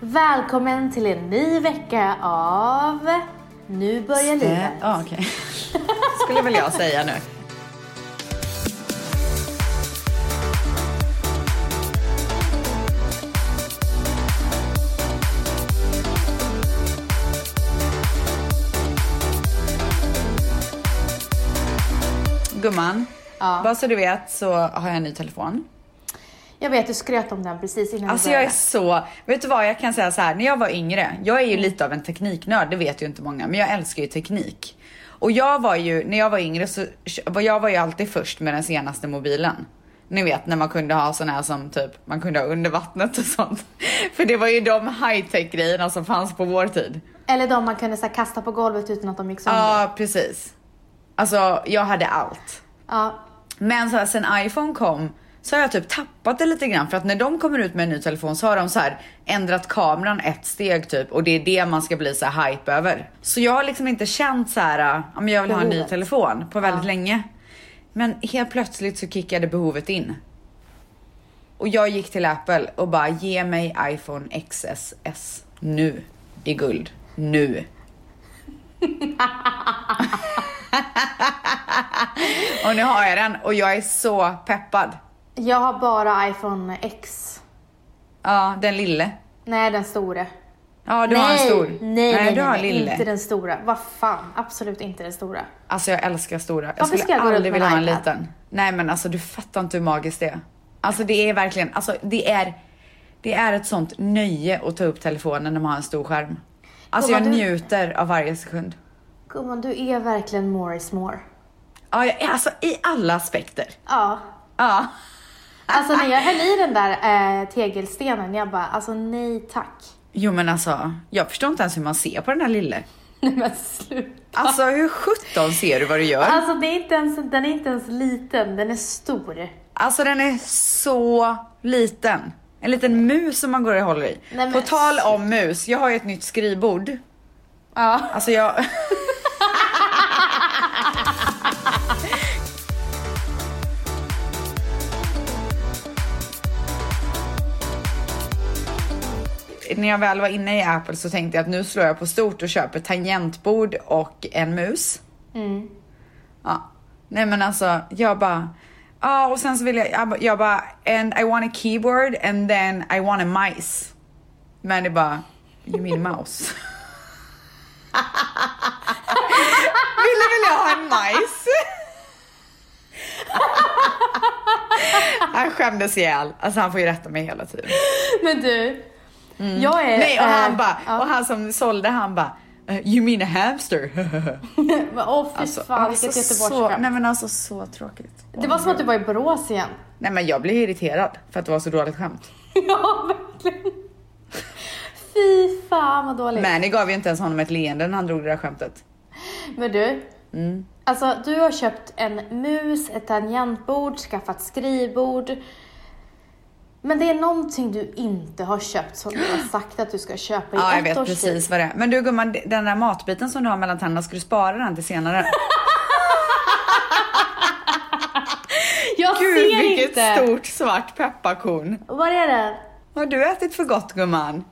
Välkommen till en ny vecka av Nu börjar livet. Eh, Ja, okej. skulle väl jag säga nu. Gumman, Ja. bara så du vet så har jag en ny telefon. Jag vet, du skröt om den precis innan Alltså vi jag är började. så, vet du vad jag kan säga så här, när jag var yngre, jag är ju lite av en tekniknörd, det vet ju inte många, men jag älskar ju teknik. Och jag var ju, när jag var yngre så, jag var ju alltid först med den senaste mobilen. Ni vet när man kunde ha sån här som typ, man kunde ha under vattnet och sånt. För det var ju de high tech grejerna som fanns på vår tid. Eller de man kunde så här, kasta på golvet utan att de gick sönder. Ja, precis. Alltså jag hade allt. Ja. Men så här, sen iPhone kom så har jag typ tappat det lite grann för att när de kommer ut med en ny telefon så har de så här ändrat kameran ett steg typ och det är det man ska bli så här hype över. Så jag har liksom inte känt så här, ja men jag vill ha en ny Behovet. telefon på väldigt länge. Men helt plötsligt så kickade behovet in. Och jag gick till Apple och bara ge mig iPhone XSS nu i guld. Nu. och nu har jag den och jag är så peppad. Jag har bara iPhone X. Ja, den lille. Nej, den store. Ja, du nej, har en stor. Nej, nej, nej, du har en nej, lille. inte den stora. Vad fan, absolut inte den stora. Alltså jag älskar stora. Jag Varför skulle ska jag gå runt aldrig vilja med ha en en iPad? liten. Nej men alltså du fattar inte hur magiskt det är. Alltså det är verkligen, alltså det är, det är ett sånt nöje att ta upp telefonen när man har en stor skärm. Alltså Gumman, jag du- njuter av varje sekund. Gumman, du är verkligen more is more. Ja, jag, alltså i alla aspekter. Ja. Ja. Alltså när jag höll i den där eh, tegelstenen, jag bara alltså nej tack. Jo men alltså, jag förstår inte ens hur man ser på den här lille. Nej men sluta. Alltså hur sjutton ser du vad du gör? Alltså det är inte ens, den är inte ens liten, den är stor. Alltså den är så liten. En liten mus som man går och håller i. Nej, men- På tal om mus, jag har ju ett nytt skrivbord. Ja. Alltså jag... När jag väl var inne i Apple så tänkte jag att nu slår jag på stort och köper tangentbord och en mus. Ja. Nej men alltså, jag bara... Ja, och sen så vill jag... Jag bara, jag bara... And I want a keyboard and then I want a mice. Men det bara... You mean mouse? Ville väl jag ha en majs? han skämdes ihjäl. Alltså han får ju rätta mig hela tiden. Men du, jag är... Nej och eh, han bara, ja. och han som sålde han bara "Eh, You mean a hamster? Alltså, Men, Åh fy fan vilket så, göteborgsskämt. nej men alltså så tråkigt. Det var som att du var i Borås igen. Nej men jag blev irriterad för att det var så dåligt skämt. ja verkligen. Fy fan vad dåligt. Men, Men ni gav ju inte ens honom ett leende när han drog det där skämtet. du. Alltså du har köpt en mus, ett tangentbord, skaffat skrivbord. Men det är någonting du inte har köpt som du har sagt att du ska köpa i Ja jag ett vet års tid. precis vad det är. Men du gumman, den där matbiten som du har mellan tänderna, ska du spara den till senare? Jag Gud ser vilket inte! stort svart pepparkorn. Var är den? Vad har du ätit för gott gumman?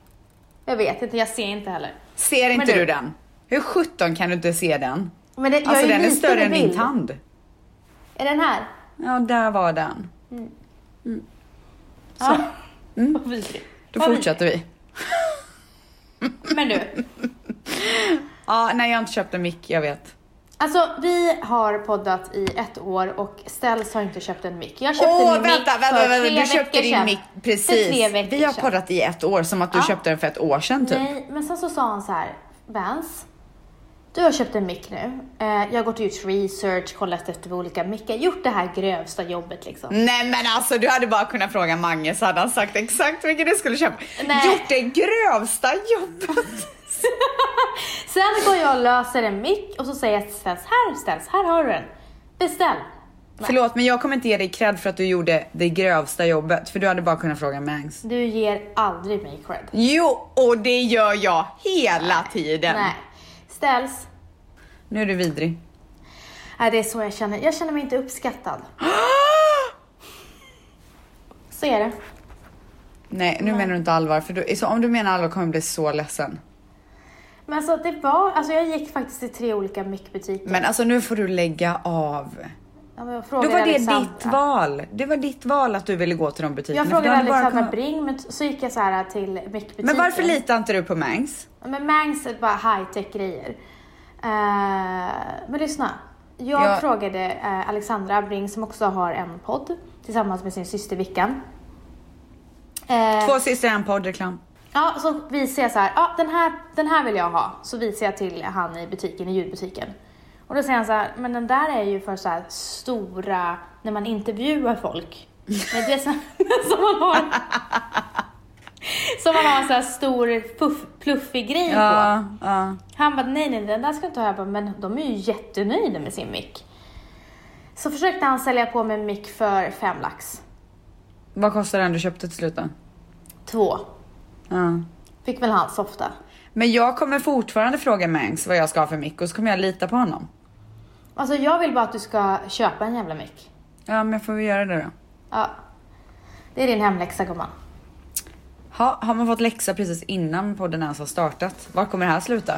Jag vet inte, jag ser inte heller. Ser inte du- du, den? Hur sjutton kan du inte se den? Men det, Alltså jag är den är liten större i än min bild. tand. Är den här? Ja, där var den. Så. Vad vidrigt. Mm. Då Vad fortsätter vi. vidrigt. Men du, Ja, nej jag har inte köpt en mick, jag vet. alltså vi har poddat i ett år och Ställs har inte köpt en mick. Jag köpte Åh, min mick vänta, vänta, för vänta, tre du köpte veckor din sedan. mick För tre precis. veckor Vi har sedan. poddat i ett år, som att du Ja. köpte den för ett år sedan typ. Nej, men sen så sa han så här, Vans, du har köpt en mick nu. Eh, Jag har gått och gjort research, kollat efter olika mickar, gjort det här grövsta jobbet liksom. Nej men alltså du hade bara kunnat fråga Mange så hade han sagt exakt vilken du skulle köpa. Nej. Gjort det grövsta jobbet. Sen går jag och löser en mick och så säger jag till Stens, här Stens, här har du den. Beställ. Förlåt men jag kommer inte ge dig cred för att du gjorde det grövsta jobbet för du hade bara kunnat fråga Mangs. Du ger aldrig mig cred. Jo och det gör jag hela tiden. Nej. Ställs, Nu är du vidrig. nej det är så jag känner. Jag känner mig inte uppskattad. Så är det. Nej, nu menar du inte allvar. För du, så om du menar allvar kommer jag bli så ledsen. Men alltså det var, alltså jag gick faktiskt i tre olika mickbutiker. Men alltså nu får du lägga av. Ja, men jag Då frågade var det Alexandra. ditt val. Det var ditt val att du ville gå till de butikerna. Jag för du frågade hade bara Alexandra kunnat- Bring, men så gick jag så här till mickbutiken. Men varför litar inte du på Mangs? Ja, Men Mangs är bara high-tech grejer. Eh, men lyssna. Jag Ja. frågade eh, Alexandra Bring som också har en podd tillsammans med sin syster Vickan. Eh, Två systrar, en poddreklam. Ja, så visar jag så här, ja den här, den här vill jag ha. Så visar jag till han i butiken, i ljudbutiken. Och då säger han så här, men den där är ju för så här stora, när man intervjuar folk. Men det är så som man har. Som man har en så här stor puff, pluffig grej på. Ja, ja. Han bara, nej nej den där ska du inte ha. Jag bara, men de är ju jättenöjda med sin mick. Så försökte han sälja på mig en mick för fem lax. Vad kostar den du köpte till slut då? Två. Ja. Fick väl han softa. Men jag kommer fortfarande fråga Mangs vad jag ska ha för mick och så kommer jag lita på honom. Alltså jag vill bara att du ska köpa en jävla mick. Ja, men får vi göra det då? Ja. Det är din hemläxa gumman. Ha, har man fått läxa precis innan podden ens har startat? Var kommer det här sluta?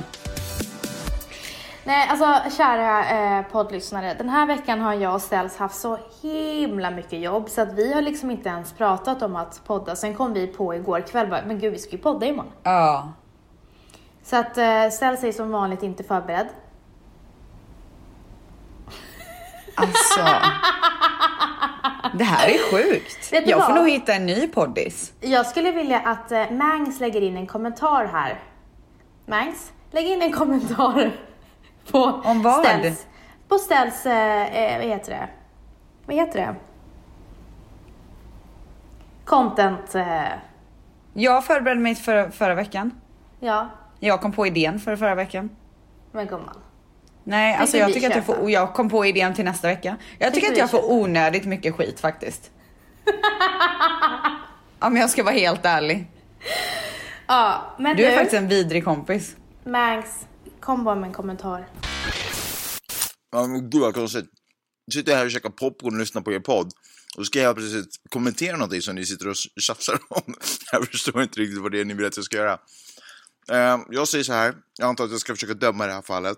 Nej, alltså kära eh, poddlyssnare. Den här veckan har jag och Ställs haft så himla mycket jobb så att vi har liksom inte ens pratat om att podda. Sen kom vi på igår kväll bara, men gud vi ska ju podda imorgon. Ja. Så att eh, Ställs är som vanligt inte förberedd. Alltså. Det här är sjukt. Vet du Jag får vad? nog hitta en ny poddis. Jag skulle vilja att eh, Mangs lägger in en kommentar här. Mangs, lägg in en kommentar på Om vad? Ställs. På Ställs, eh, eh, vad heter det? Vad heter det? Content, eh, Jag förberedde mig för, förra veckan. ja, Jag kom på idén för förra veckan. men gumman. Nej, alltså ska jag vi tycker att jag köpa. får, och jag kom på idén till nästa vecka. Jag tycker ska att vi jag får köpa. onödigt mycket skit faktiskt. Om jag ska vara helt ärlig. Ja, men Du du, är faktiskt en vidrig kompis. Mangs, kom bara med en kommentar. Ja, men gud vad konstigt. Nu sitter jag här och käkar popcorn och lyssnar på er podd. Och så ska jag precis kommentera någonting som ni sitter och tjafsar om. Jag förstår inte riktigt vad det är ni vill att jag ska göra. Eh, Jag säger så här, jag antar att jag ska försöka döma i det här fallet.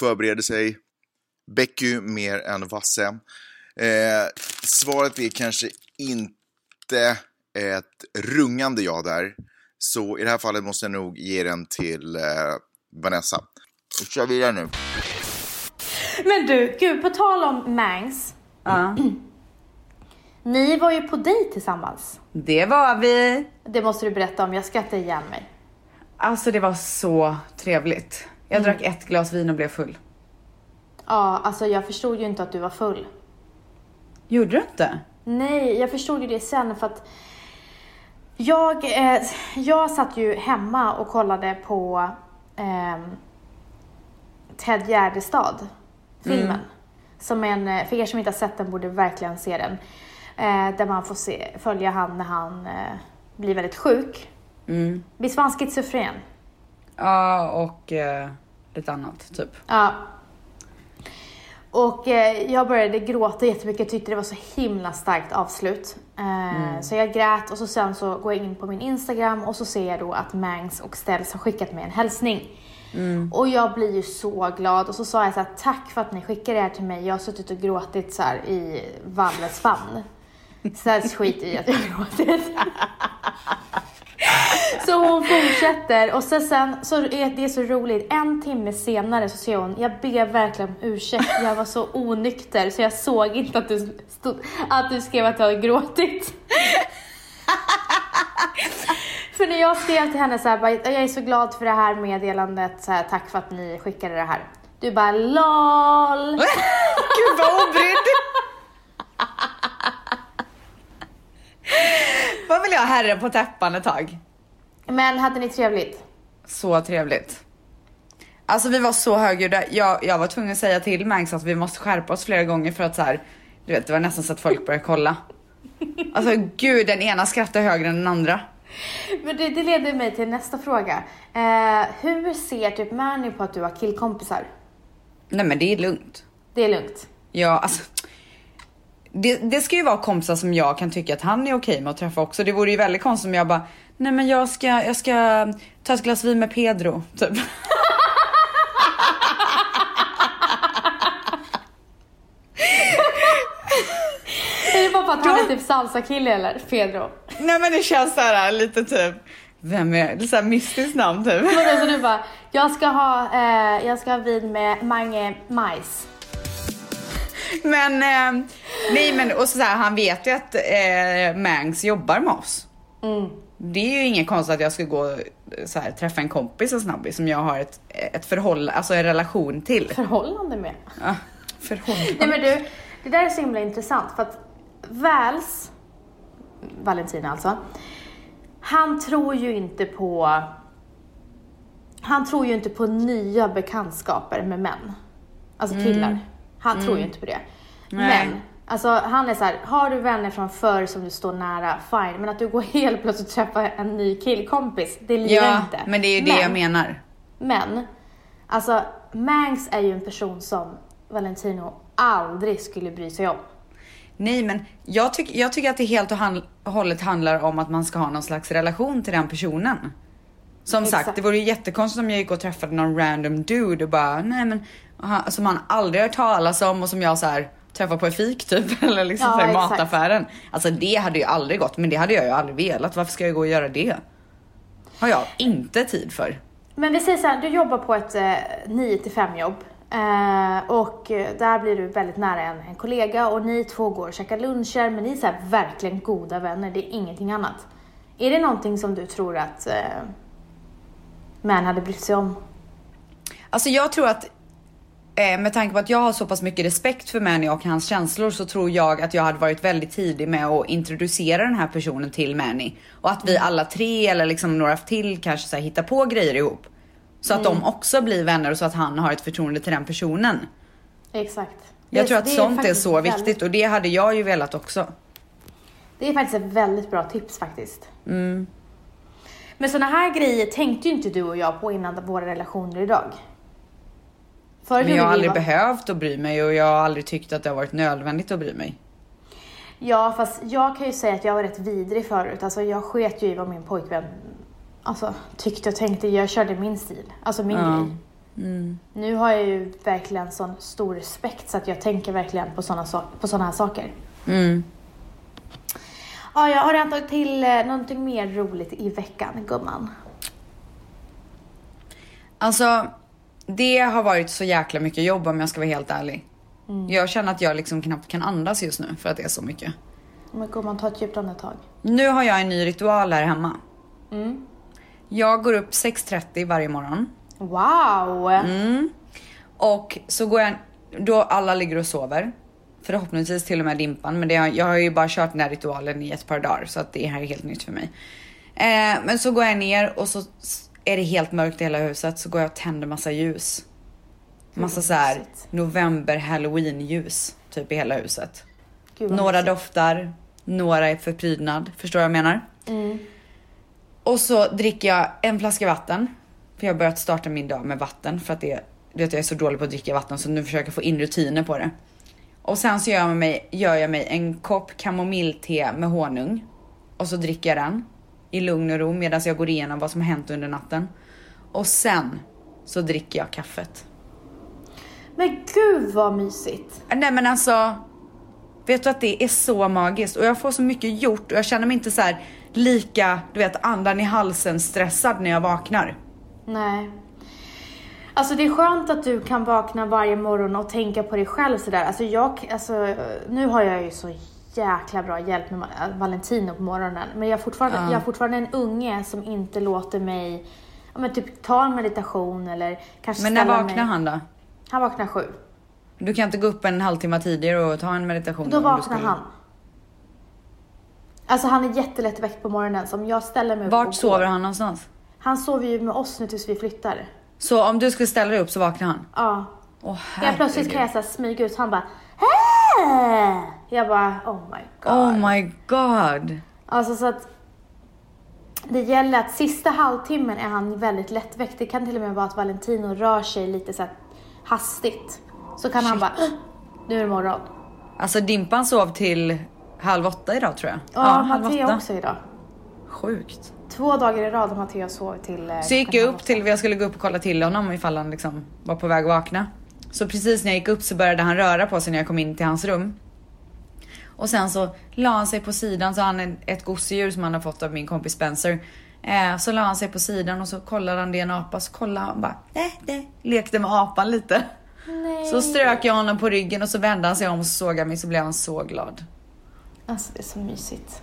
Förbereder sig. Becky mer än Vasse. Eh, svaret är kanske inte ett rungande ja där. Så i det här fallet måste jag nog ge den till eh, Vanessa. Då kör vi vidare nu. Men du, gud, på tal om Mangs. Ja. Ni var ju på dejt tillsammans. Det var vi. Det måste du berätta om, jag skrattar ihjäl mig. Alltså det var så trevligt. Jag drack ett glas vin och blev full. Ja, alltså jag förstod ju inte att du var full. Gjorde du inte? Nej, jag förstod ju det sen för att jag, eh, jag satt ju hemma och kollade på ehm, Ted Gärdestad, filmen. Som är en, eh, för er som inte har sett den borde verkligen se den. Eh, där man får se, följa han när han eh, blir väldigt sjuk. Mm. Visst var han schizofren? Ja, och eh, lite annat typ. Ja. Och eh, jag började gråta jättemycket, jag tyckte det var så himla starkt avslut. Eh, Så jag grät och så sen så går jag in på min Instagram och så ser jag då att Mangs och Ställs har skickat mig en hälsning. Och jag blir ju så glad och så sa jag så här, tack för att ni skickade det här till mig. Jag har suttit och gråtit så här i Valles famn. Ställs skit i att jag har gråtit. Så hon fortsätter och sen, sen så är det så roligt, en timme senare så säger hon, jag ber verkligen om ursäkt, jag var så onykter så jag såg inte att du, stod, att du skrev att jag hade gråtit. för när jag skrev till henne så här, bara, jag är så glad för det här meddelandet, så här, tack för att ni skickade det här. Du bara LOL! Gud vad obrydd! Vad vill jag ha herren på täppan ett tag? Men hade ni trevligt? Så trevligt. Alltså vi var så högljudda. Jag, jag var tvungen att säga till Mangs att vi måste skärpa oss flera gånger för att så här, du vet det var nästan så att folk började kolla. Alltså gud, den ena skrattar högre än den andra. Men det, det leder mig till nästa fråga. Eh, hur ser typ Mani på att du har killkompisar? Nej men det är lugnt. Det är lugnt. Ja, alltså. det, det ska ju vara kompisar som jag kan tycka att han är okej med att träffa också. Det vore ju väldigt konstigt om jag bara, nej men jag ska, jag ska ta ett glas vin med Pedro, typ. Är det bara för att han är typ salsa-kille eller? Pedro? nej men det känns så här lite typ, vem är, lite så här mystiskt namn typ. Vadå, så alltså, du bara, jag ska ha, eh, jag ska ha vin med Mange Majs. Men, eh, nej men och så här, han vet ju att eh, Mangs jobbar med oss. Det är ju inget konstigt att jag skulle gå eh, så här, träffa en kompis en snabbis som jag har ett, ett förhållande, alltså en relation till. Förhållande med. Ja, förhållande. Nej men du, det där är så himla intressant för att Väls, Valentina alltså, han tror ju inte på han tror ju inte på nya bekantskaper med män. Alltså killar. Han tror ju inte på det. Mm. Nej. Men, alltså han är så här, har du vänner från förr som du står nära, fine. Men att du går helt plötsligt och träffar en ny killkompis, det lirar ja, inte. men det är ju det jag menar. Men, alltså Mangs är ju en person som Valentino aldrig skulle bry sig om. Nej men jag, tyck, jag tycker att det helt och han- hållet handlar om att man ska ha någon slags relation till den personen. Som sagt, Exakt. det vore ju jättekonstigt om jag gick och träffade någon random dude och bara, nej men, och han- som man aldrig hört talas om och som jag så här träffar på ett fik typ eller liksom Ja, så här, i exakt. mataffären. Alltså det hade ju aldrig gått, men det hade jag ju aldrig velat. Varför ska jag gå och göra det? Har jag inte tid för. Men vi säger så här, du jobbar på ett eh, 9 till 5 jobb eh, och eh, där blir du väldigt nära en, en kollega och ni två går och käkar luncher men ni är så här verkligen goda vänner, det är ingenting annat. Är det någonting som du tror att eh, Man hade brytt sig om? Alltså jag tror att eh, med tanke på att jag har så pass mycket respekt för Manny och hans känslor så tror jag att jag hade varit väldigt tidig med att introducera den här personen till Manny. Och att vi Mm. alla tre eller liksom några till kanske så här, hittar på grejer ihop. Så att Mm. de också blir vänner och så att han har ett förtroende till den personen. Exakt. Jag Det- tror att det sånt är faktiskt så väldigt- viktigt och det hade jag ju velat också. Det är faktiskt ett väldigt bra tips faktiskt. Mm. Men såna här grejer tänkte ju inte du och jag på innan våra relationer idag. Förr Men gjorde jag har vi aldrig va- behövt att bry mig och jag har aldrig tyckt att det har varit nödvändigt att bry mig. Ja, fast jag kan ju säga att jag var rätt vidrig förut. Alltså jag sket ju i vad min pojkvän alltså, tyckte och tänkte. Jag körde min stil, alltså min Ja. Mm. grej. Nu har jag ju verkligen sån stor respekt så att jag tänker verkligen på såna, sak- på såna här saker. Mm. Ja, jag har antagligen till eh, någonting mer roligt i veckan, gumman. Alltså, det har varit så jäkla mycket jobb om jag ska vara helt ärlig. Jag känner att jag liksom knappt kan andas just nu för att det är så mycket. Men gumman, ta ett djupt andetag. Nu har jag en ny ritual här hemma. Jag går upp 6.30 varje morgon. Wow! Och så går jag, då alla ligger och sover. Förhoppningsvis till och med Dimpan, men det, har- jag har ju bara kört den här ritualen i ett par dagar så att det här är helt nytt för mig. Eh, men så går jag ner och så s- är det helt mörkt i hela huset så går jag och tänder massa ljus. Massa så här mysigt. november halloween ljus typ i hela huset. Gud, vad Några mysigt. doftar, några är för prydnad. Förstår vad jag menar? Mm. Och så dricker jag en flaska vatten. För jag har börjat starta min dag med vatten för att det, du vet jag är så dålig på att dricka vatten så nu försöker jag få in rutiner på det. Och sen så gör jag mig, gör jag mig en kopp kamomillte med honung. Och så dricker jag den i lugn och ro medan jag går igenom vad som har hänt under natten. Och sen så dricker jag kaffet. Men gud vad mysigt! Nej men alltså, vet du att det är så magiskt och jag får så mycket gjort och jag känner mig inte så här lika, du vet andan i halsen stressad när jag vaknar. Nej. Alltså det är skönt att du kan vakna varje morgon och tänka på dig själv sådär. Alltså jag, alltså, eh, nu har jag ju så jäkla bra hjälp med Ma- Valentino på morgonen. Men jag är fortfarande, jag är fortfarande en unge som inte låter mig ja, men typ ta en meditation eller kanske Men när ställa vaknar mig. han då? Han vaknar sju. Du kan inte gå upp en halvtimme tidigare och ta en meditation? Då om du vaknar skulle- han. Alltså han är jättelätt väckt på morgonen så om jag ställer mig upp och går- Vart sover han någonstans? Han sover ju med oss nu tills vi flyttar. Så om du skulle ställa dig upp så vaknar han? Ja. Åh Jag plötsligt herregud. kan jag så här smyga ut, han bara Hä? Jag bara oh my god. Oh my god. Alltså så att det gäller att sista halvtimmen är han väldigt lättväckt. Det kan till och med vara att Valentino rör sig lite så här hastigt. Så kan han bara "Åh, nu är det morgon. Alltså Dimpan sov till halv åtta idag tror jag. Ja, Mattea också idag. Sjukt. Två dagar i rad har Mattea sovit till... eh, Så jag gick klockan jag halv upp till, jag skulle gå upp och kolla till honom ifall han liksom var på väg att vakna. Så precis när jag gick upp så började han röra på sig när jag kom in till hans rum. Och sen så la han sig på sidan, så har han en- ett gosedjur som han har fått av min kompis Spencer. Eh, så la han sig på sidan och så kollade han det är en apa, så kollade han bara, nej, nej, lekte med apan lite. Nej. Så strök jag honom på ryggen och så vände han sig om och så såg han mig så blev han så glad. Alltså det är så mysigt.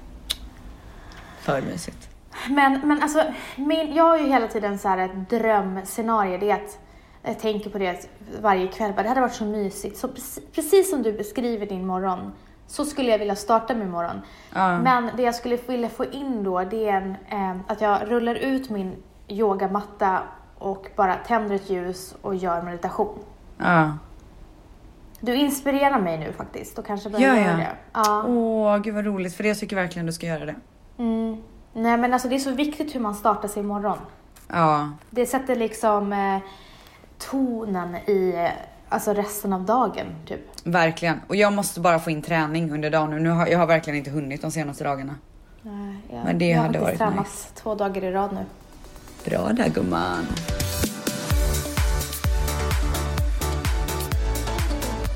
För mysigt. Men, men alltså, min, jag har ju hela tiden så här ett drömscenario. Det är att, jag tänker på det varje kväll. bara, Det hade varit så mysigt. Så precis, precis som du beskriver din morgon, så skulle jag vilja starta min morgon. Ja. Men det jag skulle vilja få in då, det är en, eh, att jag rullar ut min yogamatta och bara tänder ett ljus och gör meditation. Ja. Du inspirerar mig nu faktiskt. Då kanske jag börjar Gör göra jag? det. Ja. Åh, gud vad roligt för det tycker jag verkligen du ska göra det. Mm. Nej men alltså det är så viktigt hur man startar sin morgon. Ja. Det sätter liksom eh, tonen i eh, alltså resten av dagen typ. Verkligen. Och jag måste bara få in träning under dagen nu. nu har, jag har verkligen inte hunnit de senaste dagarna. Nej, jag, Men det jag har hade faktiskt varit tränat två dagar i rad nu. Bra där gumman.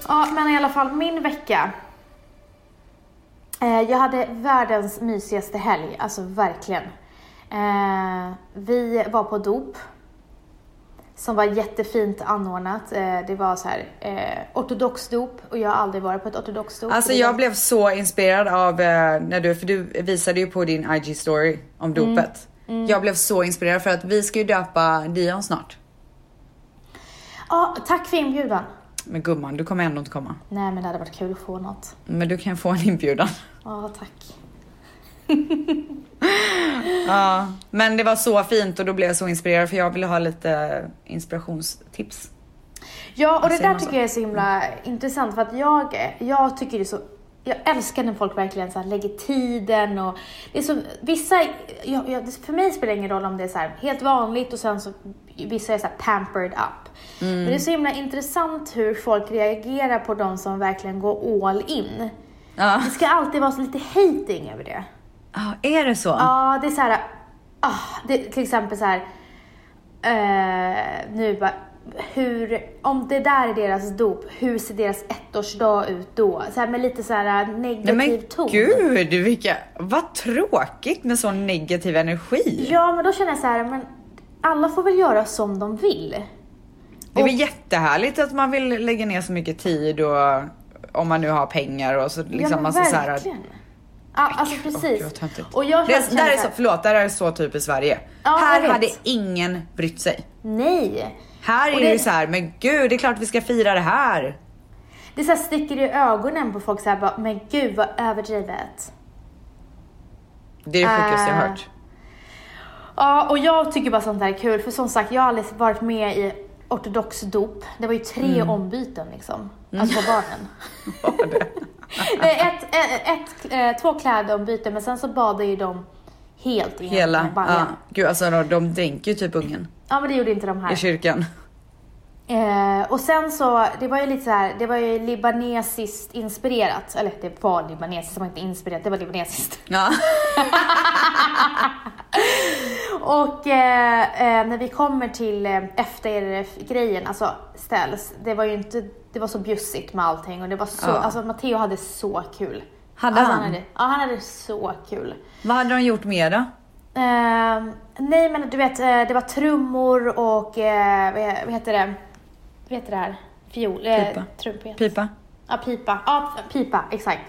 Ja men i alla fall min vecka. Eh, jag hade världens mysigaste helg, alltså verkligen. Eh, vi var på dop. Som var jättefint anordnat. Eh, det var så här eh, ortodox dop och jag har aldrig varit på ett ortodox dop. Alltså Det var- jag blev så inspirerad av eh, när du, för du visade ju på din IG story om dopet. Jag blev så inspirerad för att vi ska ju döpa Dion snart. Ja, tack för inbjudan. Men gumman, du kommer ändå inte komma. Nej men det hade varit kul att få något. Men du kan få en inbjudan. Ja, tack. Ja, men det var så fint och då blev jag så inspirerad för jag ville ha lite inspirationstips. Ja, och det säger där man så? tycker jag Mm. är så himla intressant för att jag, jag tycker det är så jag älskar när folk verkligen så här lägger tiden och det är så, vissa, jag, jag, det- för mig spelar det ingen roll om det är så här helt vanligt och sen så vissa är så här pampered up. Men det är så himla intressant hur folk reagerar på de som verkligen går all in. Ja, Det ska alltid vara så lite hating över det. Ja, är det så? Ja, det är så här. ah, det, till exempel så här. eh, nu bara, hur, om det där är deras dop, hur ser deras ettårsdag ut då? Så här, med lite så här eh, Nej negativ men ton. gud, vilka, vad tråkigt med sån negativ energi. Ja, men då känner jag så här, men alla får väl göra som de vill. Det är väl jättehärligt att man vill lägga ner så mycket tid och om man nu har pengar och så liksom ja, men massa så här. verkligen. Ja, alltså precis. Åh, gud, vad töntigt. och jag det, känner där är så så, här, förlåt, där är det så typ i Sverige. Ja, jag här vet. hade ingen brytt sig. nej. Här Och är det- det ju så här, men gud, det är klart vi ska fira det här. Det så här sticker i ögonen på folk så här, bara, men gud vad överdrivet. Det är det sjukaste jag Äh. hört. Ja, och jag tycker bara sånt där är kul för som sagt, jag har aldrig varit med i ortodox dop. Det var ju tre ombyten liksom, alltså på barnen. Mm. Var det? Nej, ett, ett, ett, eh, två klädombyten men sen så badade ju de Äh, helt i Hela, ja. baljan. Gud alltså de, de dränker ju typ ungen Ja men det gjorde inte de i här. kyrkan. Eh, och sen så, det var ju lite så här, det var ju libanesiskt inspirerat. Eller det var libanesiskt, det var inte inspirerat, det var libanesiskt. Ja. Och eh, eh, när vi kommer till eh, efter-grejen, alltså ställs, det var ju inte, det var så bjussigt med allting och det var så, Ja. alltså Matteo hade så kul. Hade alltså, han? hade, ja, han hade så kul. Vad hade de gjort mer då? Ehm, nej men du vet, eh, det var trummor och, eh, vad vad heter det, vad heter det här? Fiol? eh, Pipa. Trumpet? Pipa? Ja, pipa. Ja, p- pipa, exakt.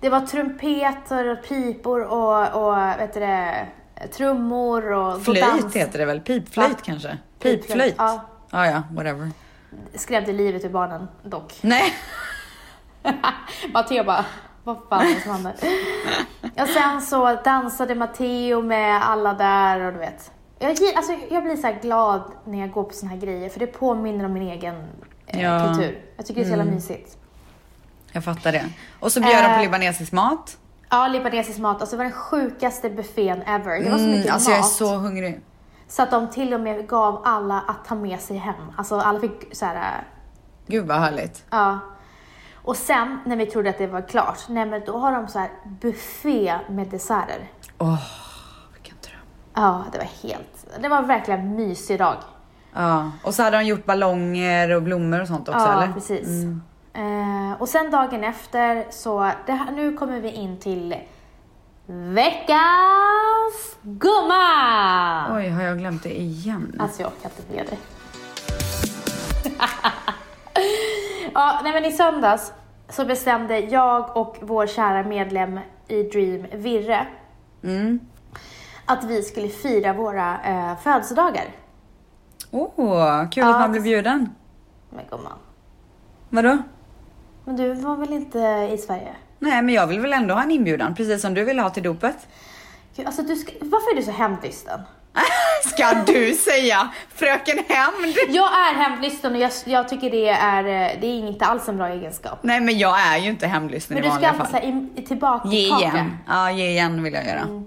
Det var trumpeter och pipor och, och vet du det, trummor och Flöjt dans. heter det väl? Pipflöjt Va? kanske? Pipflöjt, Pipflöjt? ja. ja, ja, whatever. Skrämde livet ur barnen dock. Nej. Matteo bara, vad fan är det som händer? och sen så dansade Matteo med alla där och du vet. Jag, gi- alltså, jag blir så här glad när jag går på såna här grejer för det påminner om min egen eh, Ja. kultur. Jag tycker det är så jävla mysigt. Jag fattar det. Och så bjöd de Eh, på libanesisk mat. Ja, libanesisk mat. Alltså det var den sjukaste buffén ever. Det var så mycket Mm, alltså mat. jag är så hungrig. Så att de till och med gav alla att ta med sig hem. Alltså alla fick så här, Gud vad härligt. ja. Och Och sen när vi trodde att det var klart, nej men då har de så här buffé med desserter. Åh, vilken dröm. Ja, det var helt, det var verkligen en mysig dag. Ja, och så hade de gjort ballonger och blommor och sånt också ja, eller? Mm. precis. Eh, och sen dagen efter så, det här, nu kommer vi in till veckans gumma! Oj, har jag glömt det igen? Alltså jag kan inte med dig. ja, nej men i söndags så bestämde jag och vår kära medlem i Dream, Virre, Mm. att vi skulle fira våra eh, födelsedagar. Åh, kul att man blev bjuden. Men gumman, Vadå? men du var väl inte i Sverige? Nej, men jag vill väl ändå ha en inbjudan, precis som du ville ha till dopet. Gud, alltså du ska, varför är du så hämndlysten? Ska du säga fröken hämnd? Jag är hämndlysten och jag, jag tycker det är, eh, det är inte alls en bra egenskap. Nej, men jag är ju inte hämndlysten i Men du ska alltså vanliga alltid fall. såhär tillbaka Ge igen. Ja, ge igen vill jag göra.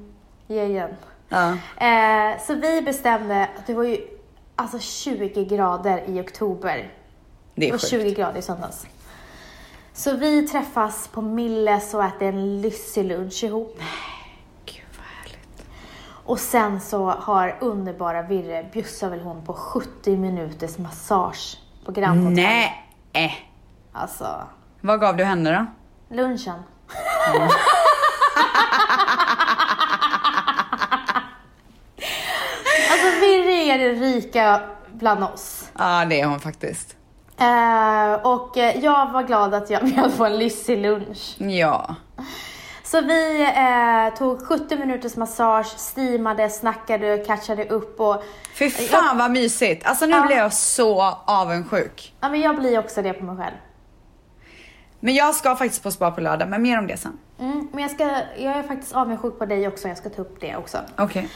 Ge igen. Ja. Eh, så vi bestämde, att det var ju alltså 20 grader i oktober. Det Det är var sjukt. 20 grader i söndags. Så vi träffas på Milles och äter en lyxig lunch ihop. Gud, vad härligt. Och sen så har underbara Virre, bjussar väl hon, på 70 minuters massage på Grand Hotel. Nej! eh. Alltså, Vad gav du henne då? lunchen. Mm. alltså Virre är den rika bland oss. Ja, det är hon faktiskt. Eh, och eh, jag var glad att jag bjöd på en lyssig lunch. Ja. Så vi eh, tog 70 minuters massage, steamade, snackade, catchade upp och Fy fan vad mysigt. Alltså nu blir jag så avundsjuk. ja, men jag blir också det på mig själv. Men jag ska faktiskt på spa på lördag, men mer om det sen. Mm, men jag, ska, jag är faktiskt avundsjuk på dig också, jag ska ta upp det också. Okej.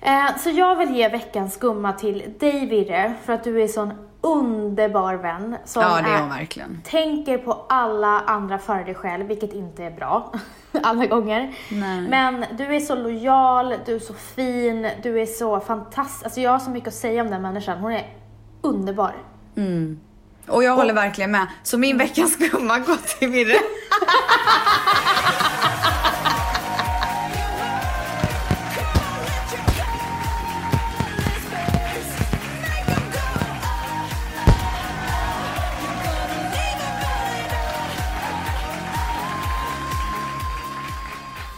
Eh, så jag vill ge veckans gumma till dig Virre, för att du är en sån underbar vän. Som Ja, det är hon verkligen. tänker på alla andra före dig själv, vilket inte är bra alla gånger. Nej. Men du är så lojal, du är så fin, du är så fantastisk. Alltså jag har så mycket att säga om den människan. Hon är underbar. Och jag håller verkligen med. Så min veckans gumma går till Mirre.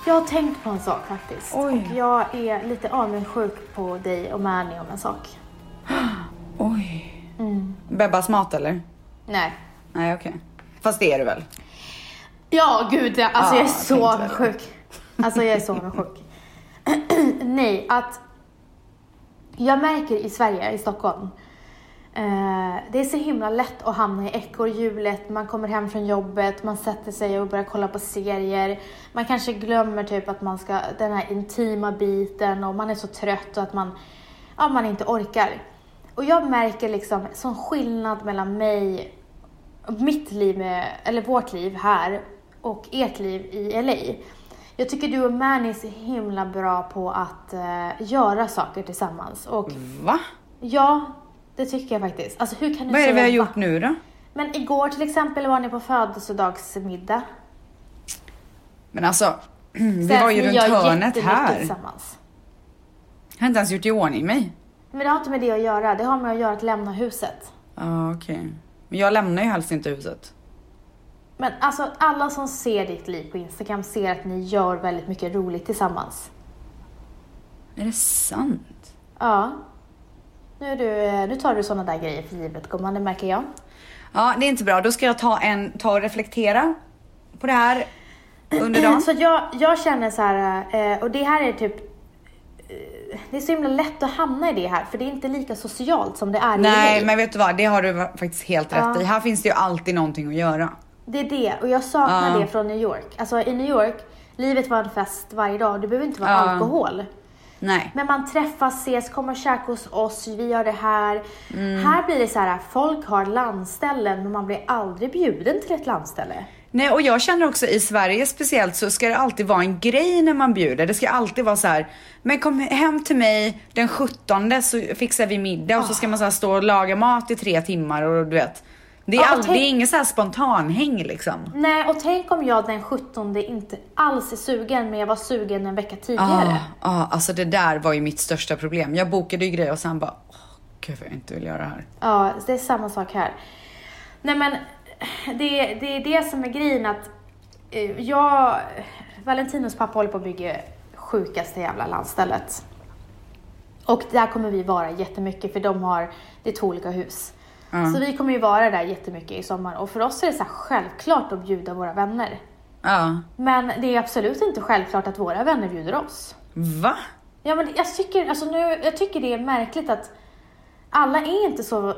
Jag har tänkt på en sak faktiskt. Oj. Och jag är lite avundsjuk på dig och Mani om en sak. Oj. Mm. Bebbas mat eller? Nej. Nej, okej. Fast det är det väl? Ja, gud ja. Alltså Ja, jag är jag så tänkte väl det. avundsjuk. Alltså jag är så avundsjuk. Nej, att jag märker i Sverige, i Stockholm, eh, det är så himla lätt att hamna i ekorrhjulet. Man kommer hem från jobbet, man sätter sig och börjar kolla på serier. Man kanske glömmer typ att man ska, den här intima biten och man är så trött och att man, ja, man inte orkar. Och jag märker liksom sån skillnad mellan mig mitt liv, med, eller vårt liv här och ert liv i LA. Jag tycker du och Mani är så himla bra på att eh, göra saker tillsammans. Och Va? ja, det tycker jag faktiskt. Alltså hur kan du Vad är det säga vi har va? gjort nu då? Men igår till exempel var ni på födelsedagsmiddag. Men alltså, vi Sen, var ju ni runt gör hörnet jättemycket här. Jag Tillsammans. har inte ens gjort i ordning mig. Men det har inte med det att göra, det har med att göra att lämna huset. Ja, okej. Men jag lämnar ju helst inte huset. Men alltså alla som ser ditt liv på Instagram ser att ni gör väldigt mycket roligt tillsammans. Är det sant? Ja. Nu, är du, eh, nu tar du sådana där grejer för givet gumman, det märker jag. Ja, det är inte bra. Då ska jag ta, en, ta och reflektera på det här under dagen. Så att jag, jag känner så här, eh, och det här är typ eh, det är så himla lätt att hamna i det här, för det är inte lika socialt som det är i Nej, LA. men vet du vad? Det har du va- faktiskt helt rätt i. Här finns det ju alltid någonting att göra. Det är det, och jag saknar Ja. det från New York. Alltså i New York, livet var en fest varje dag, det behöver inte vara Ja. alkohol. Nej. Men man träffas, ses, kommer och käka hos oss, vi gör det här. Mm. Här blir det så här, folk har landställen men man blir aldrig bjuden till ett landställe. Nej, och jag känner också i Sverige speciellt så ska det alltid vara en grej när man bjuder. Det ska alltid vara så här, men kom hem till mig den 17 så fixar vi middag och så ska man så här stå och laga mat i tre timmar och du vet. Det är, Ja, och aldrig, det är tänk- inget så här spontanhäng liksom. Nej, och tänk om jag den 17 inte alls är sugen, men jag var sugen en vecka Ja, tidigare. ja, alltså det där var ju mitt största problem. Jag bokade ju grejer och sen bara, åh gud vad jag inte vill göra det här. Ja, det är samma sak här. Nej men, det, det är det som är grejen att eh, jag, Valentinos pappa håller på att bygga sjukaste jävla landstället. Och där kommer vi vara jättemycket för de har, det är två olika hus. Så vi kommer ju vara där jättemycket i sommar och för oss är det så här självklart att bjuda våra vänner. Ja, Men det är absolut inte självklart att våra vänner bjuder oss. va? Ja, men jag, tycker, alltså nu, jag tycker det är märkligt att alla är inte så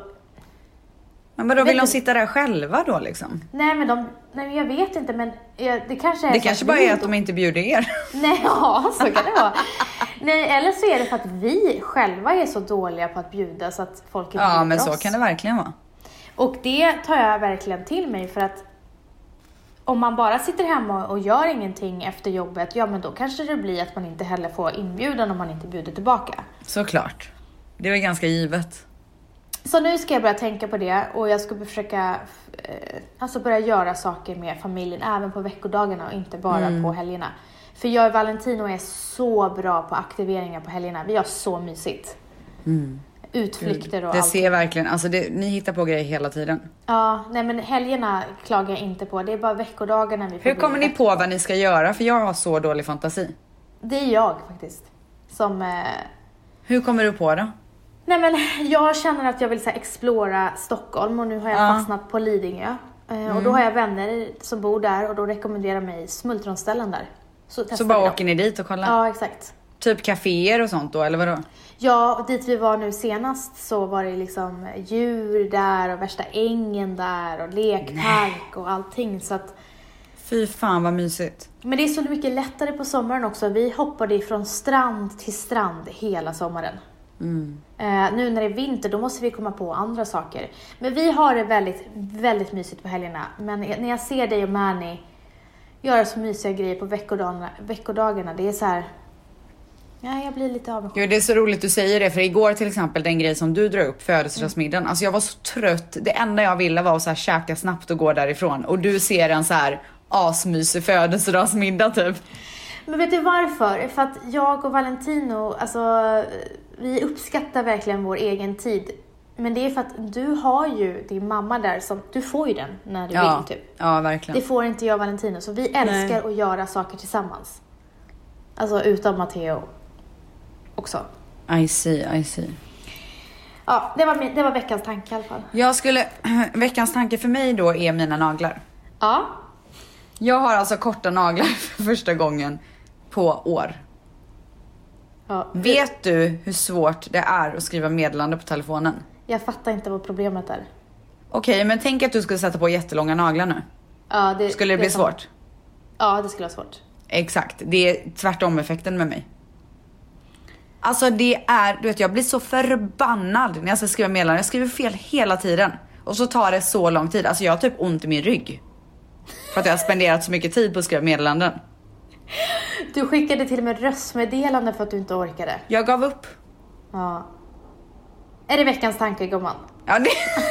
Men vadå, Vet vill de du- sitta där själva då liksom? Nej men de, nej men jag vet inte men jag, det kanske är Det så kanske att bara vi är att de inte bjuder er. Nej, ja så kan det vara. nej eller så är det för att vi själva är så dåliga på att bjuda så att folk inte Ja, bjuder men så oss. kan det verkligen vara. Och det tar jag verkligen till mig för att om man bara sitter hemma och gör ingenting efter jobbet, ja men då kanske det blir att man inte heller får inbjudan om man inte bjuder tillbaka. Såklart. Det var ganska givet. Så nu ska jag börja tänka på det och jag ska försöka eh, alltså börja göra saker med familjen även på veckodagarna och inte bara Mm. på helgerna. För jag och Valentino är så bra på aktiveringar på helgerna. Vi har så mysigt. Utflykter och Mm. Det allt. ser verkligen, alltså det, ni hittar på grejer hela tiden. Ja, nej men helgerna klagar jag inte på. Det är bara veckodagarna vi får Hur bli kommer ni bättre. på vad ni ska göra? För jag har så dålig fantasi. Det är jag faktiskt. Som... Eh, Hur kommer du på det? nej men jag känner att jag vill så här, explora Stockholm och nu har jag Ja. Mm. fastnat på Lidingö. Eh, Och då har jag vänner som bor där och då rekommenderar mig smultronställen där. Så, Så testar vi bara dem. åker ni dit och kollar? Ja, exakt. Typ kaféer och sånt då, eller vadå? Ja, och dit vi var nu senast så var det liksom djur där och värsta ängen där och lekpark och allting. Så att, Fy fan vad mysigt. men det är så mycket lättare på sommaren också. Vi hoppade från strand till strand hela sommaren. Eh, nu när det är vinter, då måste vi komma på andra saker. Men vi har det väldigt, väldigt mysigt på helgerna. Men när jag ser dig och Mani göra så mysiga grejer på veckodagarna, veckodagarna det är så här... Ja, jag blir lite avundsjuk. Gud, det är så roligt du säger det, för igår till exempel den grej som du drar upp, födelsedagsmiddagen. Alltså jag var så trött. Det enda jag ville var att så här, käka snabbt och gå därifrån. Och du ser en så här asmysig födelsedagsmiddag typ. Men vet du varför? För att jag och Valentino, alltså vi uppskattar verkligen vår egen tid. Men det är för att du har ju din mamma där, som, du får ju den när du Ja, vill typ. ja Det verkligen. får inte jag och Valentino, så vi älskar att göra saker tillsammans. Alltså utan Matteo också. I see, I see. Ja, det var, min, det var veckans tanke i alla fall. Jag skulle, veckans tanke för mig då är mina naglar. Ja, Jag har alltså korta naglar för första gången på år. ja Vet du hur svårt det är att skriva meddelande på telefonen? jag fattar inte vad problemet är. Okej, men tänk att du skulle sätta på jättelånga naglar nu. Ja, Skulle det bli är sant. svårt? Ja, det skulle vara svårt. Exakt, det är tvärtom effekten med mig. Alltså det är, du vet jag blir så förbannad när jag ska skriva meddelanden. Jag skriver fel hela tiden. Och så tar det så lång tid. Alltså jag har typ ont i min rygg. För att jag har spenderat så mycket tid på att skriva meddelanden. Du skickade till och med röstmeddelande för att du inte orkade. Jag gav upp. Ja. Är det veckans tanke gumman? Ja, det...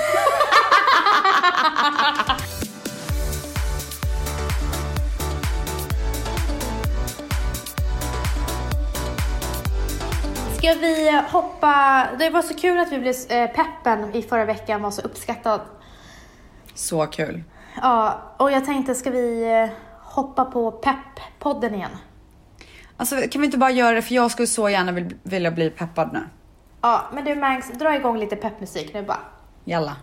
Ska vi hoppa... Det var så kul att vi blev... eh, Peppen i förra veckan var så uppskattad. Så kul. Ja, och jag tänkte ska vi eh, hoppa på Pepp-podden igen? Alltså kan vi inte bara göra det för jag skulle så gärna vil- vilja bli peppad nu. Ja, men du Mangs, dra igång lite peppmusik nu bara. Jalla.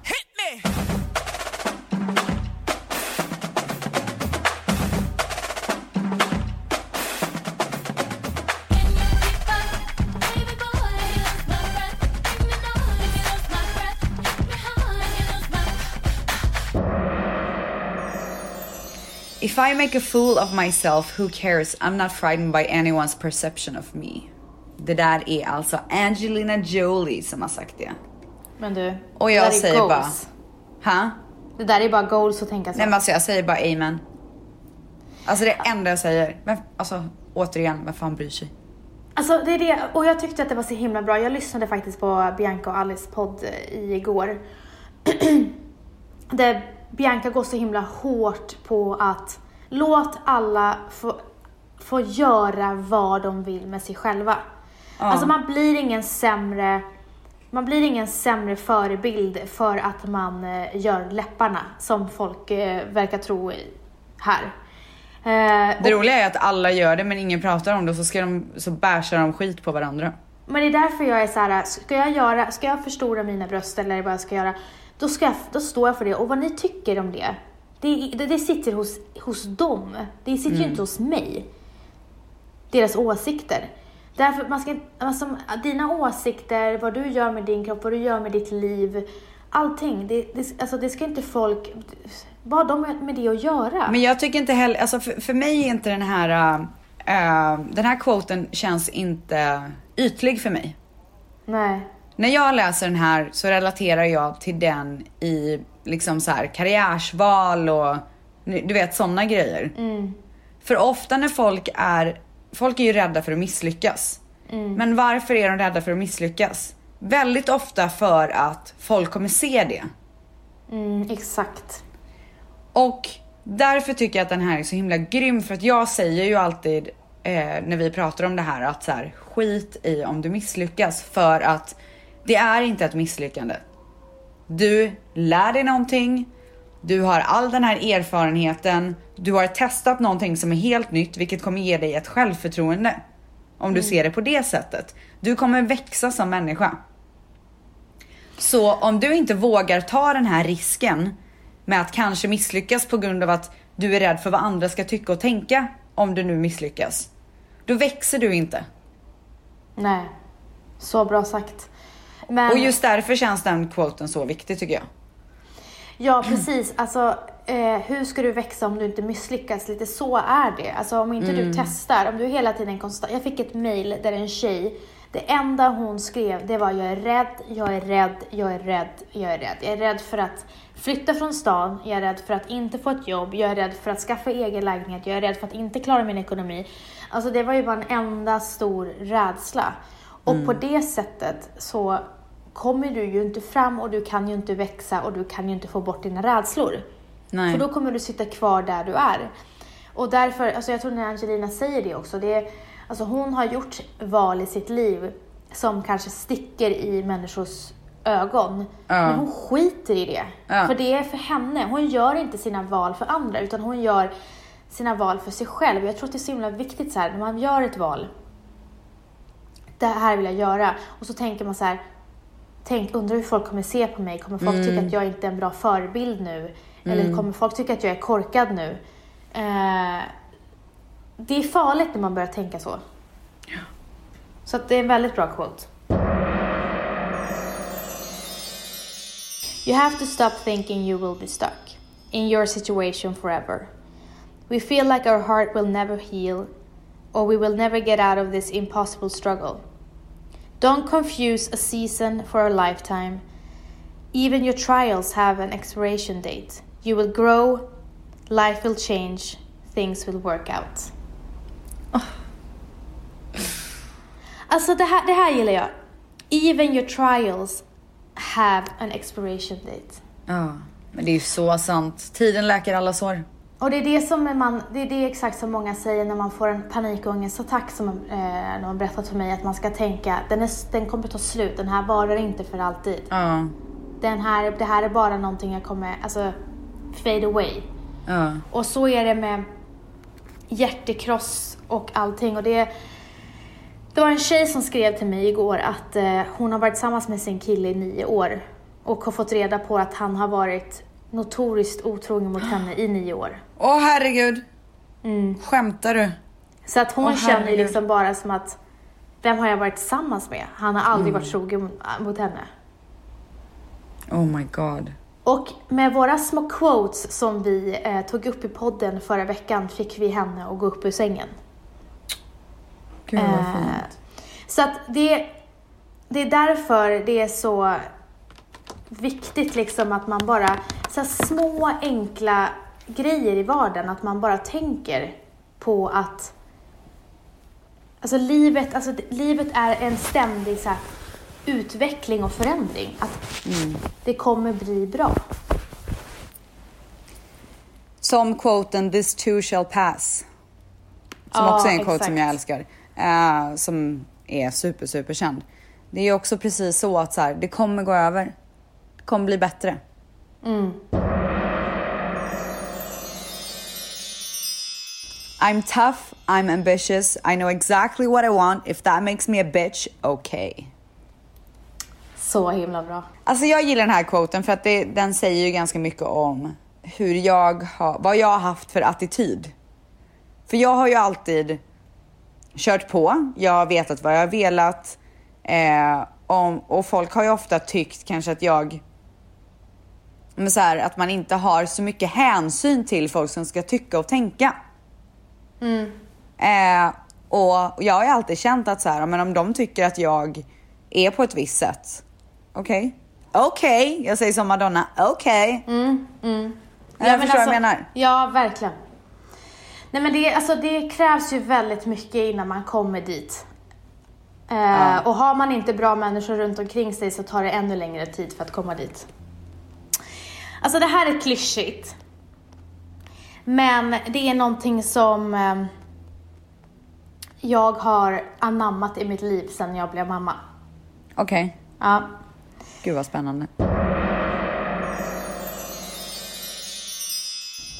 If I make a fool of myself, who cares? I'm not frightened by anyone's perception of me. Det där är alltså Angelina Jolie som har sagt det. Men du, Och det jag där är säger bara... goals. Ha? Det där är bara goals att tänka så. Nej men alltså jag säger bara amen. Alltså det är det enda jag säger. Men, alltså återigen, vem fan bryr sig? Alltså det är det, och jag tyckte att det var så himla bra. Jag lyssnade faktiskt på Bianca och Alice podd eh, igår. där Bianca går så himla hårt på att låt alla få, få göra vad de vill med sig själva. Alltså man blir ingen sämre man blir ingen sämre förebild för att man eh, gör läpparna som folk eh, verkar tro i- här. Eh, Det roliga är att alla gör det men ingen pratar om det och så, ska de, så bärsar de skit på varandra. Men det är därför jag är så här, ska jag, göra, ska jag förstora mina bröst eller vad jag ska göra, då, ska jag, då står jag för det. Och vad ni tycker om det, det, det, det sitter hos, hos dem. Det sitter Mm. ju inte hos mig. Deras åsikter. Därför, man ska, inte- alltså, dina åsikter, vad du gör med din kropp, vad du gör med ditt liv, allting. Det, det, alltså, det ska inte folk, vad har de med det att göra? Men jag tycker inte heller, alltså för, för mig är inte den här, eh, den här quoten känns inte ytlig för mig. Nej. När jag läser den här så relaterar jag till den i liksom så här karriärsval och du vet sådana grejer. För ofta när folk är, folk är ju rädda för att misslyckas. Men varför är de rädda för att misslyckas? Väldigt ofta för att folk kommer se det. Mm, exakt. Och därför tycker jag att den här är så himla grym för att jag säger ju alltid eh, när vi pratar om det här att så här, skit i om du misslyckas för att det är inte ett misslyckande. Du lär dig någonting, du har all den här erfarenheten, du har testat någonting som är helt nytt vilket kommer ge dig ett självförtroende. Om du ser det på det sättet. Du kommer växa som människa. Så om du inte vågar ta den här risken med att kanske misslyckas på grund av att du är rädd för vad andra ska tycka och tänka om du nu misslyckas. Då växer du inte. Nej. Så bra sagt. Men... Och just därför känns den quoten så viktig tycker jag. Ja, precis. Alltså, eh, hur ska du växa om du inte misslyckas? Lite så är det. Alltså, om inte du testar, om du hela tiden konstant... Jag fick ett mail där en tjej, det enda hon skrev det var jag är rädd, jag är rädd, jag är rädd, jag är rädd. Jag är rädd för att flytta från stan, jag är rädd för att inte få ett jobb, jag är rädd för att skaffa egen lägenhet, jag är rädd för att inte klara min ekonomi. Alltså det var ju bara en enda stor rädsla. Och på det sättet så kommer du ju inte fram och du kan ju inte växa och du kan ju inte få bort dina rädslor. Nej. För då kommer du sitta kvar där du är. Och därför, alltså jag tror när Angelina säger det också, det är, alltså hon har gjort val i sitt liv som kanske sticker i människors ögon. Men hon skiter i det. Ja. För det är för henne. Hon gör inte sina val för andra utan hon gör sina val för sig själv. Jag tror att det är så himla viktigt så här, när man gör ett val. Det här vill jag göra. Och så tänker man så här, Tänk, undrar hur folk kommer se på mig? Kommer folk tycka att jag inte är en bra förebild nu? Eller kommer folk tycka att jag är korkad nu? Eh, det är farligt när man börjar tänka så. Så att det är en väldigt bra quote. You have to stop thinking you will be stuck in your situation forever. We feel like our heart will never heal or we will never get out of this impossible struggle. Don't confuse a season for a lifetime. Even your trials have an expiration date. You will grow, life will change, things will work out. Alltså det här, det här gillar jag. Even your trials have an expiration date. Ja. Men det är ju så sant. Tiden läker alla sår. Och det är det som man, det är det exakt som många säger när man får en panikångestattack som eh, någon berättat för mig att man ska tänka, den, är, den kommer ta slut, den här varar inte för alltid. Ja. den här, det här är bara någonting jag kommer, alltså fade away. Ja. Och så är det med hjärtekross och allting. Och det, det var en tjej som skrev till mig igår att eh, hon har varit tillsammans med sin kille i nio år och har fått reda på att han har varit notoriskt otrogen mot henne i nio år. Åh herregud. Mm. Skämtar du? Så att hon Åh, känner ju herregud. liksom bara som att vem har jag varit tillsammans med? Han har aldrig Mm. varit trogen mot henne. Oh my god. Och med våra små quotes som vi eh, tog upp i podden förra veckan fick vi henne att gå upp ur sängen. Gud vad Eh, fint. Så att det, det är därför det är så viktigt liksom att man bara, så här små enkla grejer i vardagen, att man bara tänker på att Alltså livet, alltså d- livet är en ständig så här, Mm. utveckling och förändring. Att det kommer bli bra. Som quoten “This too shall pass”. Som Ja, också är en quote som exakt. jag älskar. eh, som är super, super känd. Det är ju också precis så att så här, det kommer gå över. Det kommer bli bättre. Mm. I'm tough, I'm ambitious, I know exactly what I want. If that makes me a bitch, okay. Så himla bra. Alltså jag gillar den här quoten för att det, den säger ju ganska mycket om hur jag har, vad jag har haft för attityd. För jag har ju alltid kört på, jag har vetat vad jag har velat eh, om, och folk har ju ofta tyckt kanske att jag men så här, att man inte har så mycket hänsyn till folk som ska tycka och tänka. Eh, och jag har ju alltid känt att så här, men om de tycker att jag är på ett visst sätt, okej. Okej, jag säger som Madonna, okej. Jag förstår vad jag menar. alltså, Ja, verkligen. Nej men det, alltså, det krävs ju väldigt mycket innan man kommer dit. Eh, Och har man inte bra människor runt omkring sig så tar det ännu längre tid för att komma dit. Alltså det här är klyschigt. Men det är någonting som eh, jag har anammat i mitt liv sedan jag blev mamma. Okej, Ja. gud vad spännande.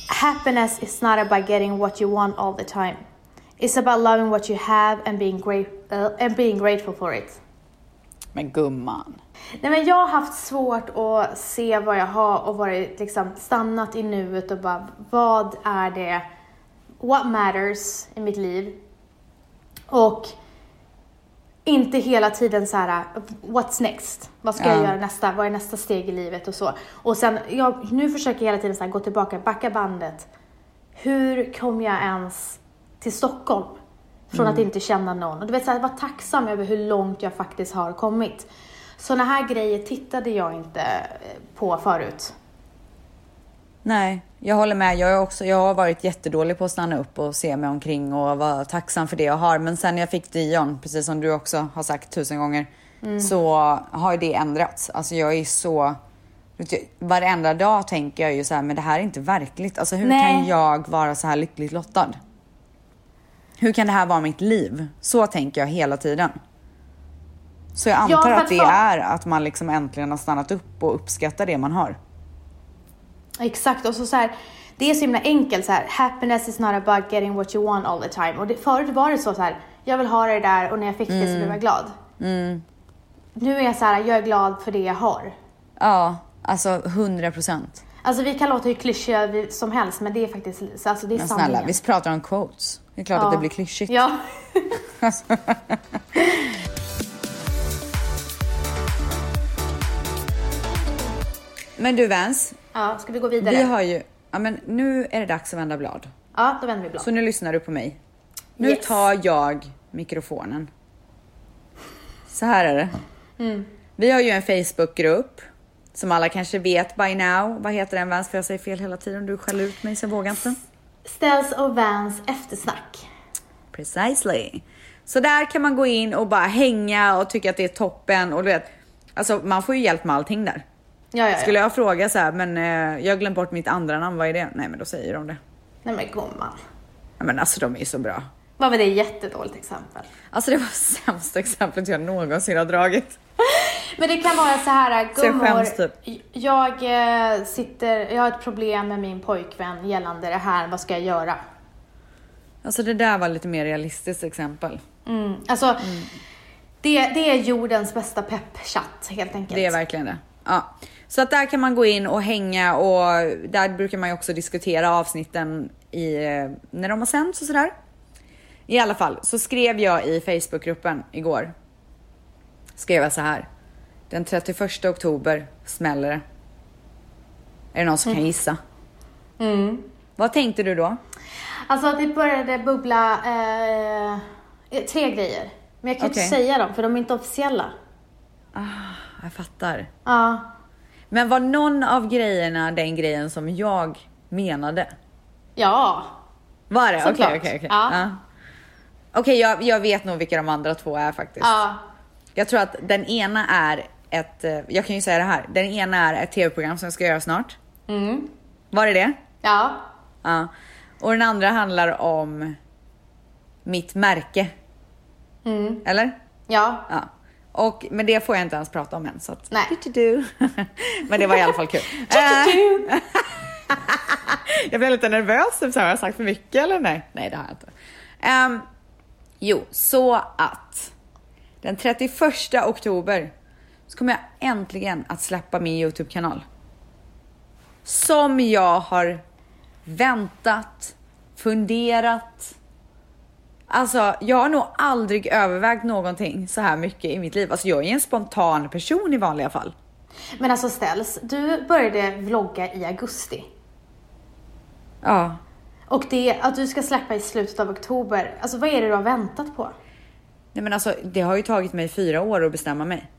Happiness is not about getting what you want all the time. It's about loving what you have and being, gra- eh, and being grateful for it. Men gumman. Nej, men jag har haft svårt att se vad jag har och varit liksom stannat i nuet och bara vad är det, what matters i mitt liv? Och inte hela tiden så här, what's next? Vad ska jag Ja. göra nästa? Vad är nästa steg i livet och så? Och sen, jag, nu försöker jag hela tiden så här, gå tillbaka, backa bandet. Hur kom jag ens till Stockholm? Från att inte känna någon. Och du vet, så här, vara tacksam över hur långt jag faktiskt har kommit. Såna här grejer tittade jag inte eh, på förut. Nej, jag håller med. Jag, är också, jag har varit jättedålig på att stanna upp och se mig omkring och vara tacksam för det jag har. Men sen när jag fick Dion, precis som du också har sagt tusen gånger, Mm. så har ju det ändrats. Alltså jag är så... vet du, Varenda dag tänker jag ju så här, men det här är inte verkligt. Alltså hur Nej. kan jag vara så här lyckligt lottad? Hur kan det här vara mitt liv? Så tänker jag hela tiden. Så jag Ja, antar för att att det folk- är att man liksom äntligen har stannat upp och uppskattar det man har. Exakt, och så, så här, det är så himla enkelt så här, happiness is not about getting what you want all the time. Och det, förut var det så, så här, jag vill ha det där och när jag fick Mm. det så blev jag glad. Nu är jag så här, jag är glad för det jag har. Ja, alltså 100 procent. Alltså vi kan låta hur klyschiga vi- som helst men det är faktiskt, alltså det är Men sanningen. snälla, vi pratar om quotes. Det är klart att det blir klyschigt. Ja. Men du Vens, ja, ska vi gå vidare? vi har ju... Ja, men nu är det dags att vända blad. Ja, då vänder vi blad. Så nu lyssnar du på mig. Nu Yes. tar jag mikrofonen. Så här är det. Mm. Vi har ju en Facebookgrupp. Som alla kanske vet by now. Vad heter den Vens? För jag säger fel hela tiden. Du skäller ut mig så jag vågar inte. Ställs och Vans eftersnack. Precisely. Så där kan man gå in och bara hänga och tycka att det är toppen och du vet, alltså man får ju hjälp med allting där. Ja, ja, ja. Skulle jag fråga så här, men eh, jag har glömt bort mitt andra namn, vad är det? Nej men då säger de det. Nej men gumman. Ja, men alltså de är ju så bra. Vad var det ett jättedåligt exempel? Alltså det var sämsta exemplet jag någonsin har dragit. Men det kan vara så här, äh, Så jag gummor. skäms typ. Jag, eh, sitter, jag har ett problem med min pojkvän gällande det här, vad ska jag göra? Alltså det där var lite mer realistiskt exempel. Mm. Alltså, det, det är jordens bästa peppchatt helt enkelt. Det är verkligen det. Ja. Så att där kan man gå in och hänga och där brukar man ju också diskutera avsnitten i, eh, när de har sänts och sådär. I alla fall så skrev jag i Facebookgruppen igår. Skrev jag så här. Den 31 oktober smäller det. Är det någon som kan gissa? Vad tänkte du då? Mm. Alltså det började bubbla eh, tre grejer. Men jag kan ju inte Okej. säga dem för de är inte officiella. Jag fattar. Ja. Men var någon av grejerna den grejen som jag menade? Ja. Var det? Okej, Såklart. okej, okej. Ja. Ja. Okej, jag, jag vet nog vilka de andra två är faktiskt. ja. Jag tror att den ena är ett, eh, jag kan ju säga det här, den ena är ett tv-program som jag ska göra snart. Mm. Var det det? Ja. Ja. Ja. Och den andra handlar om mitt märke. Mm. Eller? Ja, Ja. Och, men det får jag inte ens prata om än. Så att... Nej. Typ, Du-du-du. men det var i alla fall kul. Du-du-du. Eh, jag blev lite nervös, typ så här, har jag sagt för mycket eller nej? Nej, det har jag inte. Ehm, jo, så att den 31 oktober så kommer jag äntligen att släppa min YouTube-kanal. Som jag har väntat, funderat, Alltså jag har nog aldrig övervägt någonting så här mycket i mitt liv. Alltså jag är en spontan person i vanliga fall. men alltså ställs, du började vlogga i augusti. Ja. Och det att du ska släppa i slutet av oktober, alltså vad är det du har väntat på? Nej men alltså det har ju tagit mig fyra år att bestämma mig.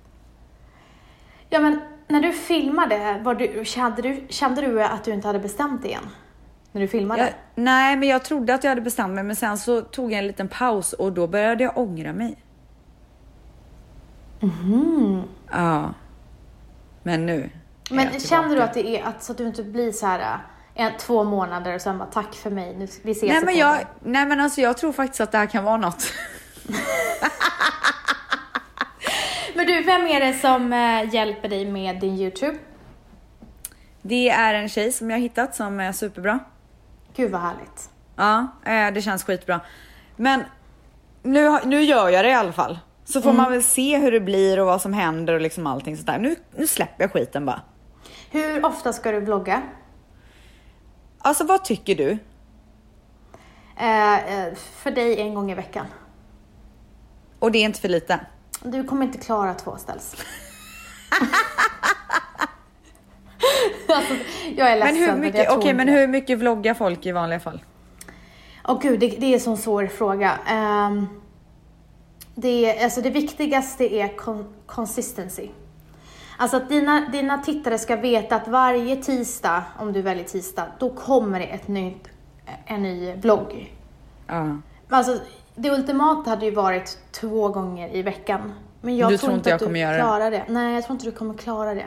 Ja men, när du filmade, var du, kände, du, kände du att du inte hade bestämt dig än? När du filmade? Jag, nej men jag trodde att jag hade bestämt mig men sen så tog jag en liten paus och då började jag ångra mig. Ja. Men nu. är jag men tillbaka. känner du att det är, att, så att du inte blir så här äh, en, två månader och sen bara tack för mig, nu, vi ses Nej i men, podden." jag, nej men alltså jag tror faktiskt att det här kan vara något. Men du, vem är det som eh, hjälper dig med din YouTube? Det är en tjej som jag har hittat som är superbra. Gud vad härligt. Ja, eh, det känns skitbra. Men nu, har- nu gör jag det i alla fall. Så får man väl se hur det blir och vad som händer och liksom allting sånt där. Nu, nu släpper jag skiten bara. Hur ofta ska du vlogga? Alltså vad tycker du? Eh, eh, för dig en gång i veckan. Och det är inte för lite. Du kommer inte klara två ställs. alltså, jag är Men ledsen. hur jag mycket, tror okej inte men det. hur mycket vloggar folk i vanliga fall? Åh gud, det, det är en sån svår fråga. Ehm, det, är- alltså det viktigaste är kon- consistency. Alltså att dina, dina tittare ska veta att varje tisdag, om du väljer tisdag, då kommer det ett nytt, en ny vlogg. Ja. Alltså, det ultimata hade ju varit två gånger i veckan. Men jag Du tror inte att jag du kommer göra det? klarar det. Nej, jag tror inte du kommer klara det.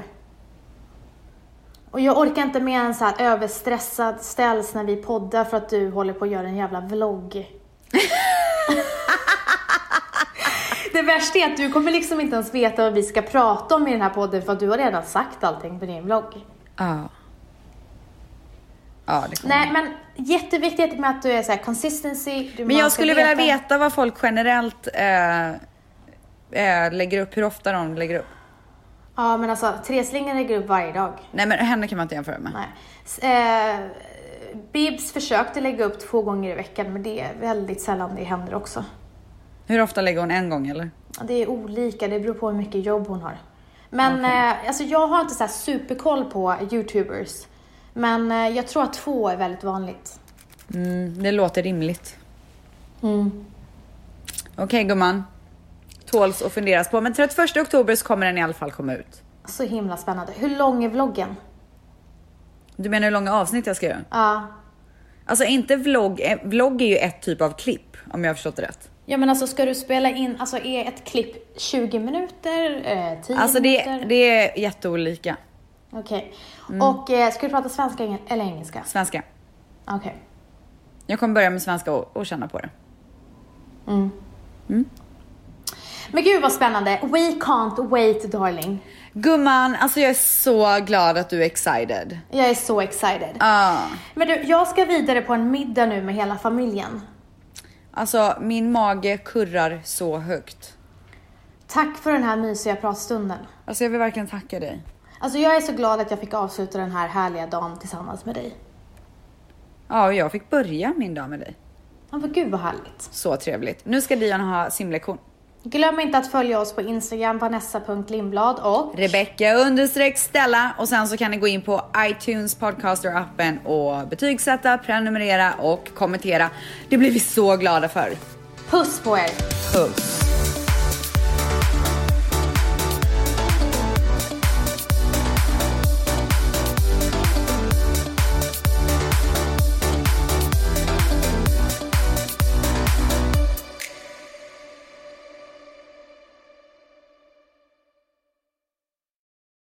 Och jag orkar inte med en så här överstressad ställs när vi poddar för att du håller på att göra en jävla vlogg. det värsta är att du kommer liksom inte ens veta vad vi ska prata om i den här podden för att du har redan sagt allting på din vlogg. Ja. Ja det kommer. Nej, men jätteviktigt med att du är så här consistency. du- Men man jag ska skulle vilja veta vad folk generellt eh, eh, lägger upp, hur ofta de lägger upp. Ja, men alltså Therese Lindgren lägger upp varje dag. Nej men henne kan man inte jämföra med. Nej. S- Eh, Bibs försökte lägga upp två gånger i veckan, men det är väldigt sällan det händer också. Hur ofta lägger hon en gång eller? Det är olika, det beror på hur mycket jobb hon har. Men eh, alltså jag har inte så här superkoll på youtubers. Men eh, jag tror att två är väldigt vanligt. Mm, det låter rimligt. Mm. Okej gumman. Tåls och funderas på. Men 31 oktober så kommer den i alla fall komma ut. Så himla spännande. Hur lång är vloggen? Du menar hur långa avsnitt jag ska göra? Ja. Alltså inte vlogg. eh, Vlogg är ju ett typ av klipp om jag har förstått det rätt. ja, men alltså ska du spela in, alltså är ett klipp 20 minuter, eh, 10 Alltså det, minuter? det är jätteolika. Okej. Mm. Och eh, ska du prata svenska eng- eller engelska? Svenska. Okej. Jag kommer börja med svenska och, och känna på det. Men gud vad spännande. We can't wait darling. Gumman, alltså jag är så glad att du är excited. Jag är så excited. Ah. Men du, jag ska vidare på en middag nu med hela familjen. Alltså min mage kurrar så högt. Tack för den här mysiga pratstunden. Alltså jag vill verkligen tacka dig. Alltså jag är så glad att jag fick avsluta den här härliga dagen tillsammans med dig. Ja, och jag fick börja min dag med dig. Ja, men gud vad härligt. Så trevligt. Nu ska Dion ha simlektion. Glöm inte att följa oss på Instagram, vanessa.lindblad och Rebecca understreck Stella och sen så kan ni gå in på iTunes podcaster appen och betygsätta, prenumerera och kommentera. Det blir vi så glada för. puss på er! Puss!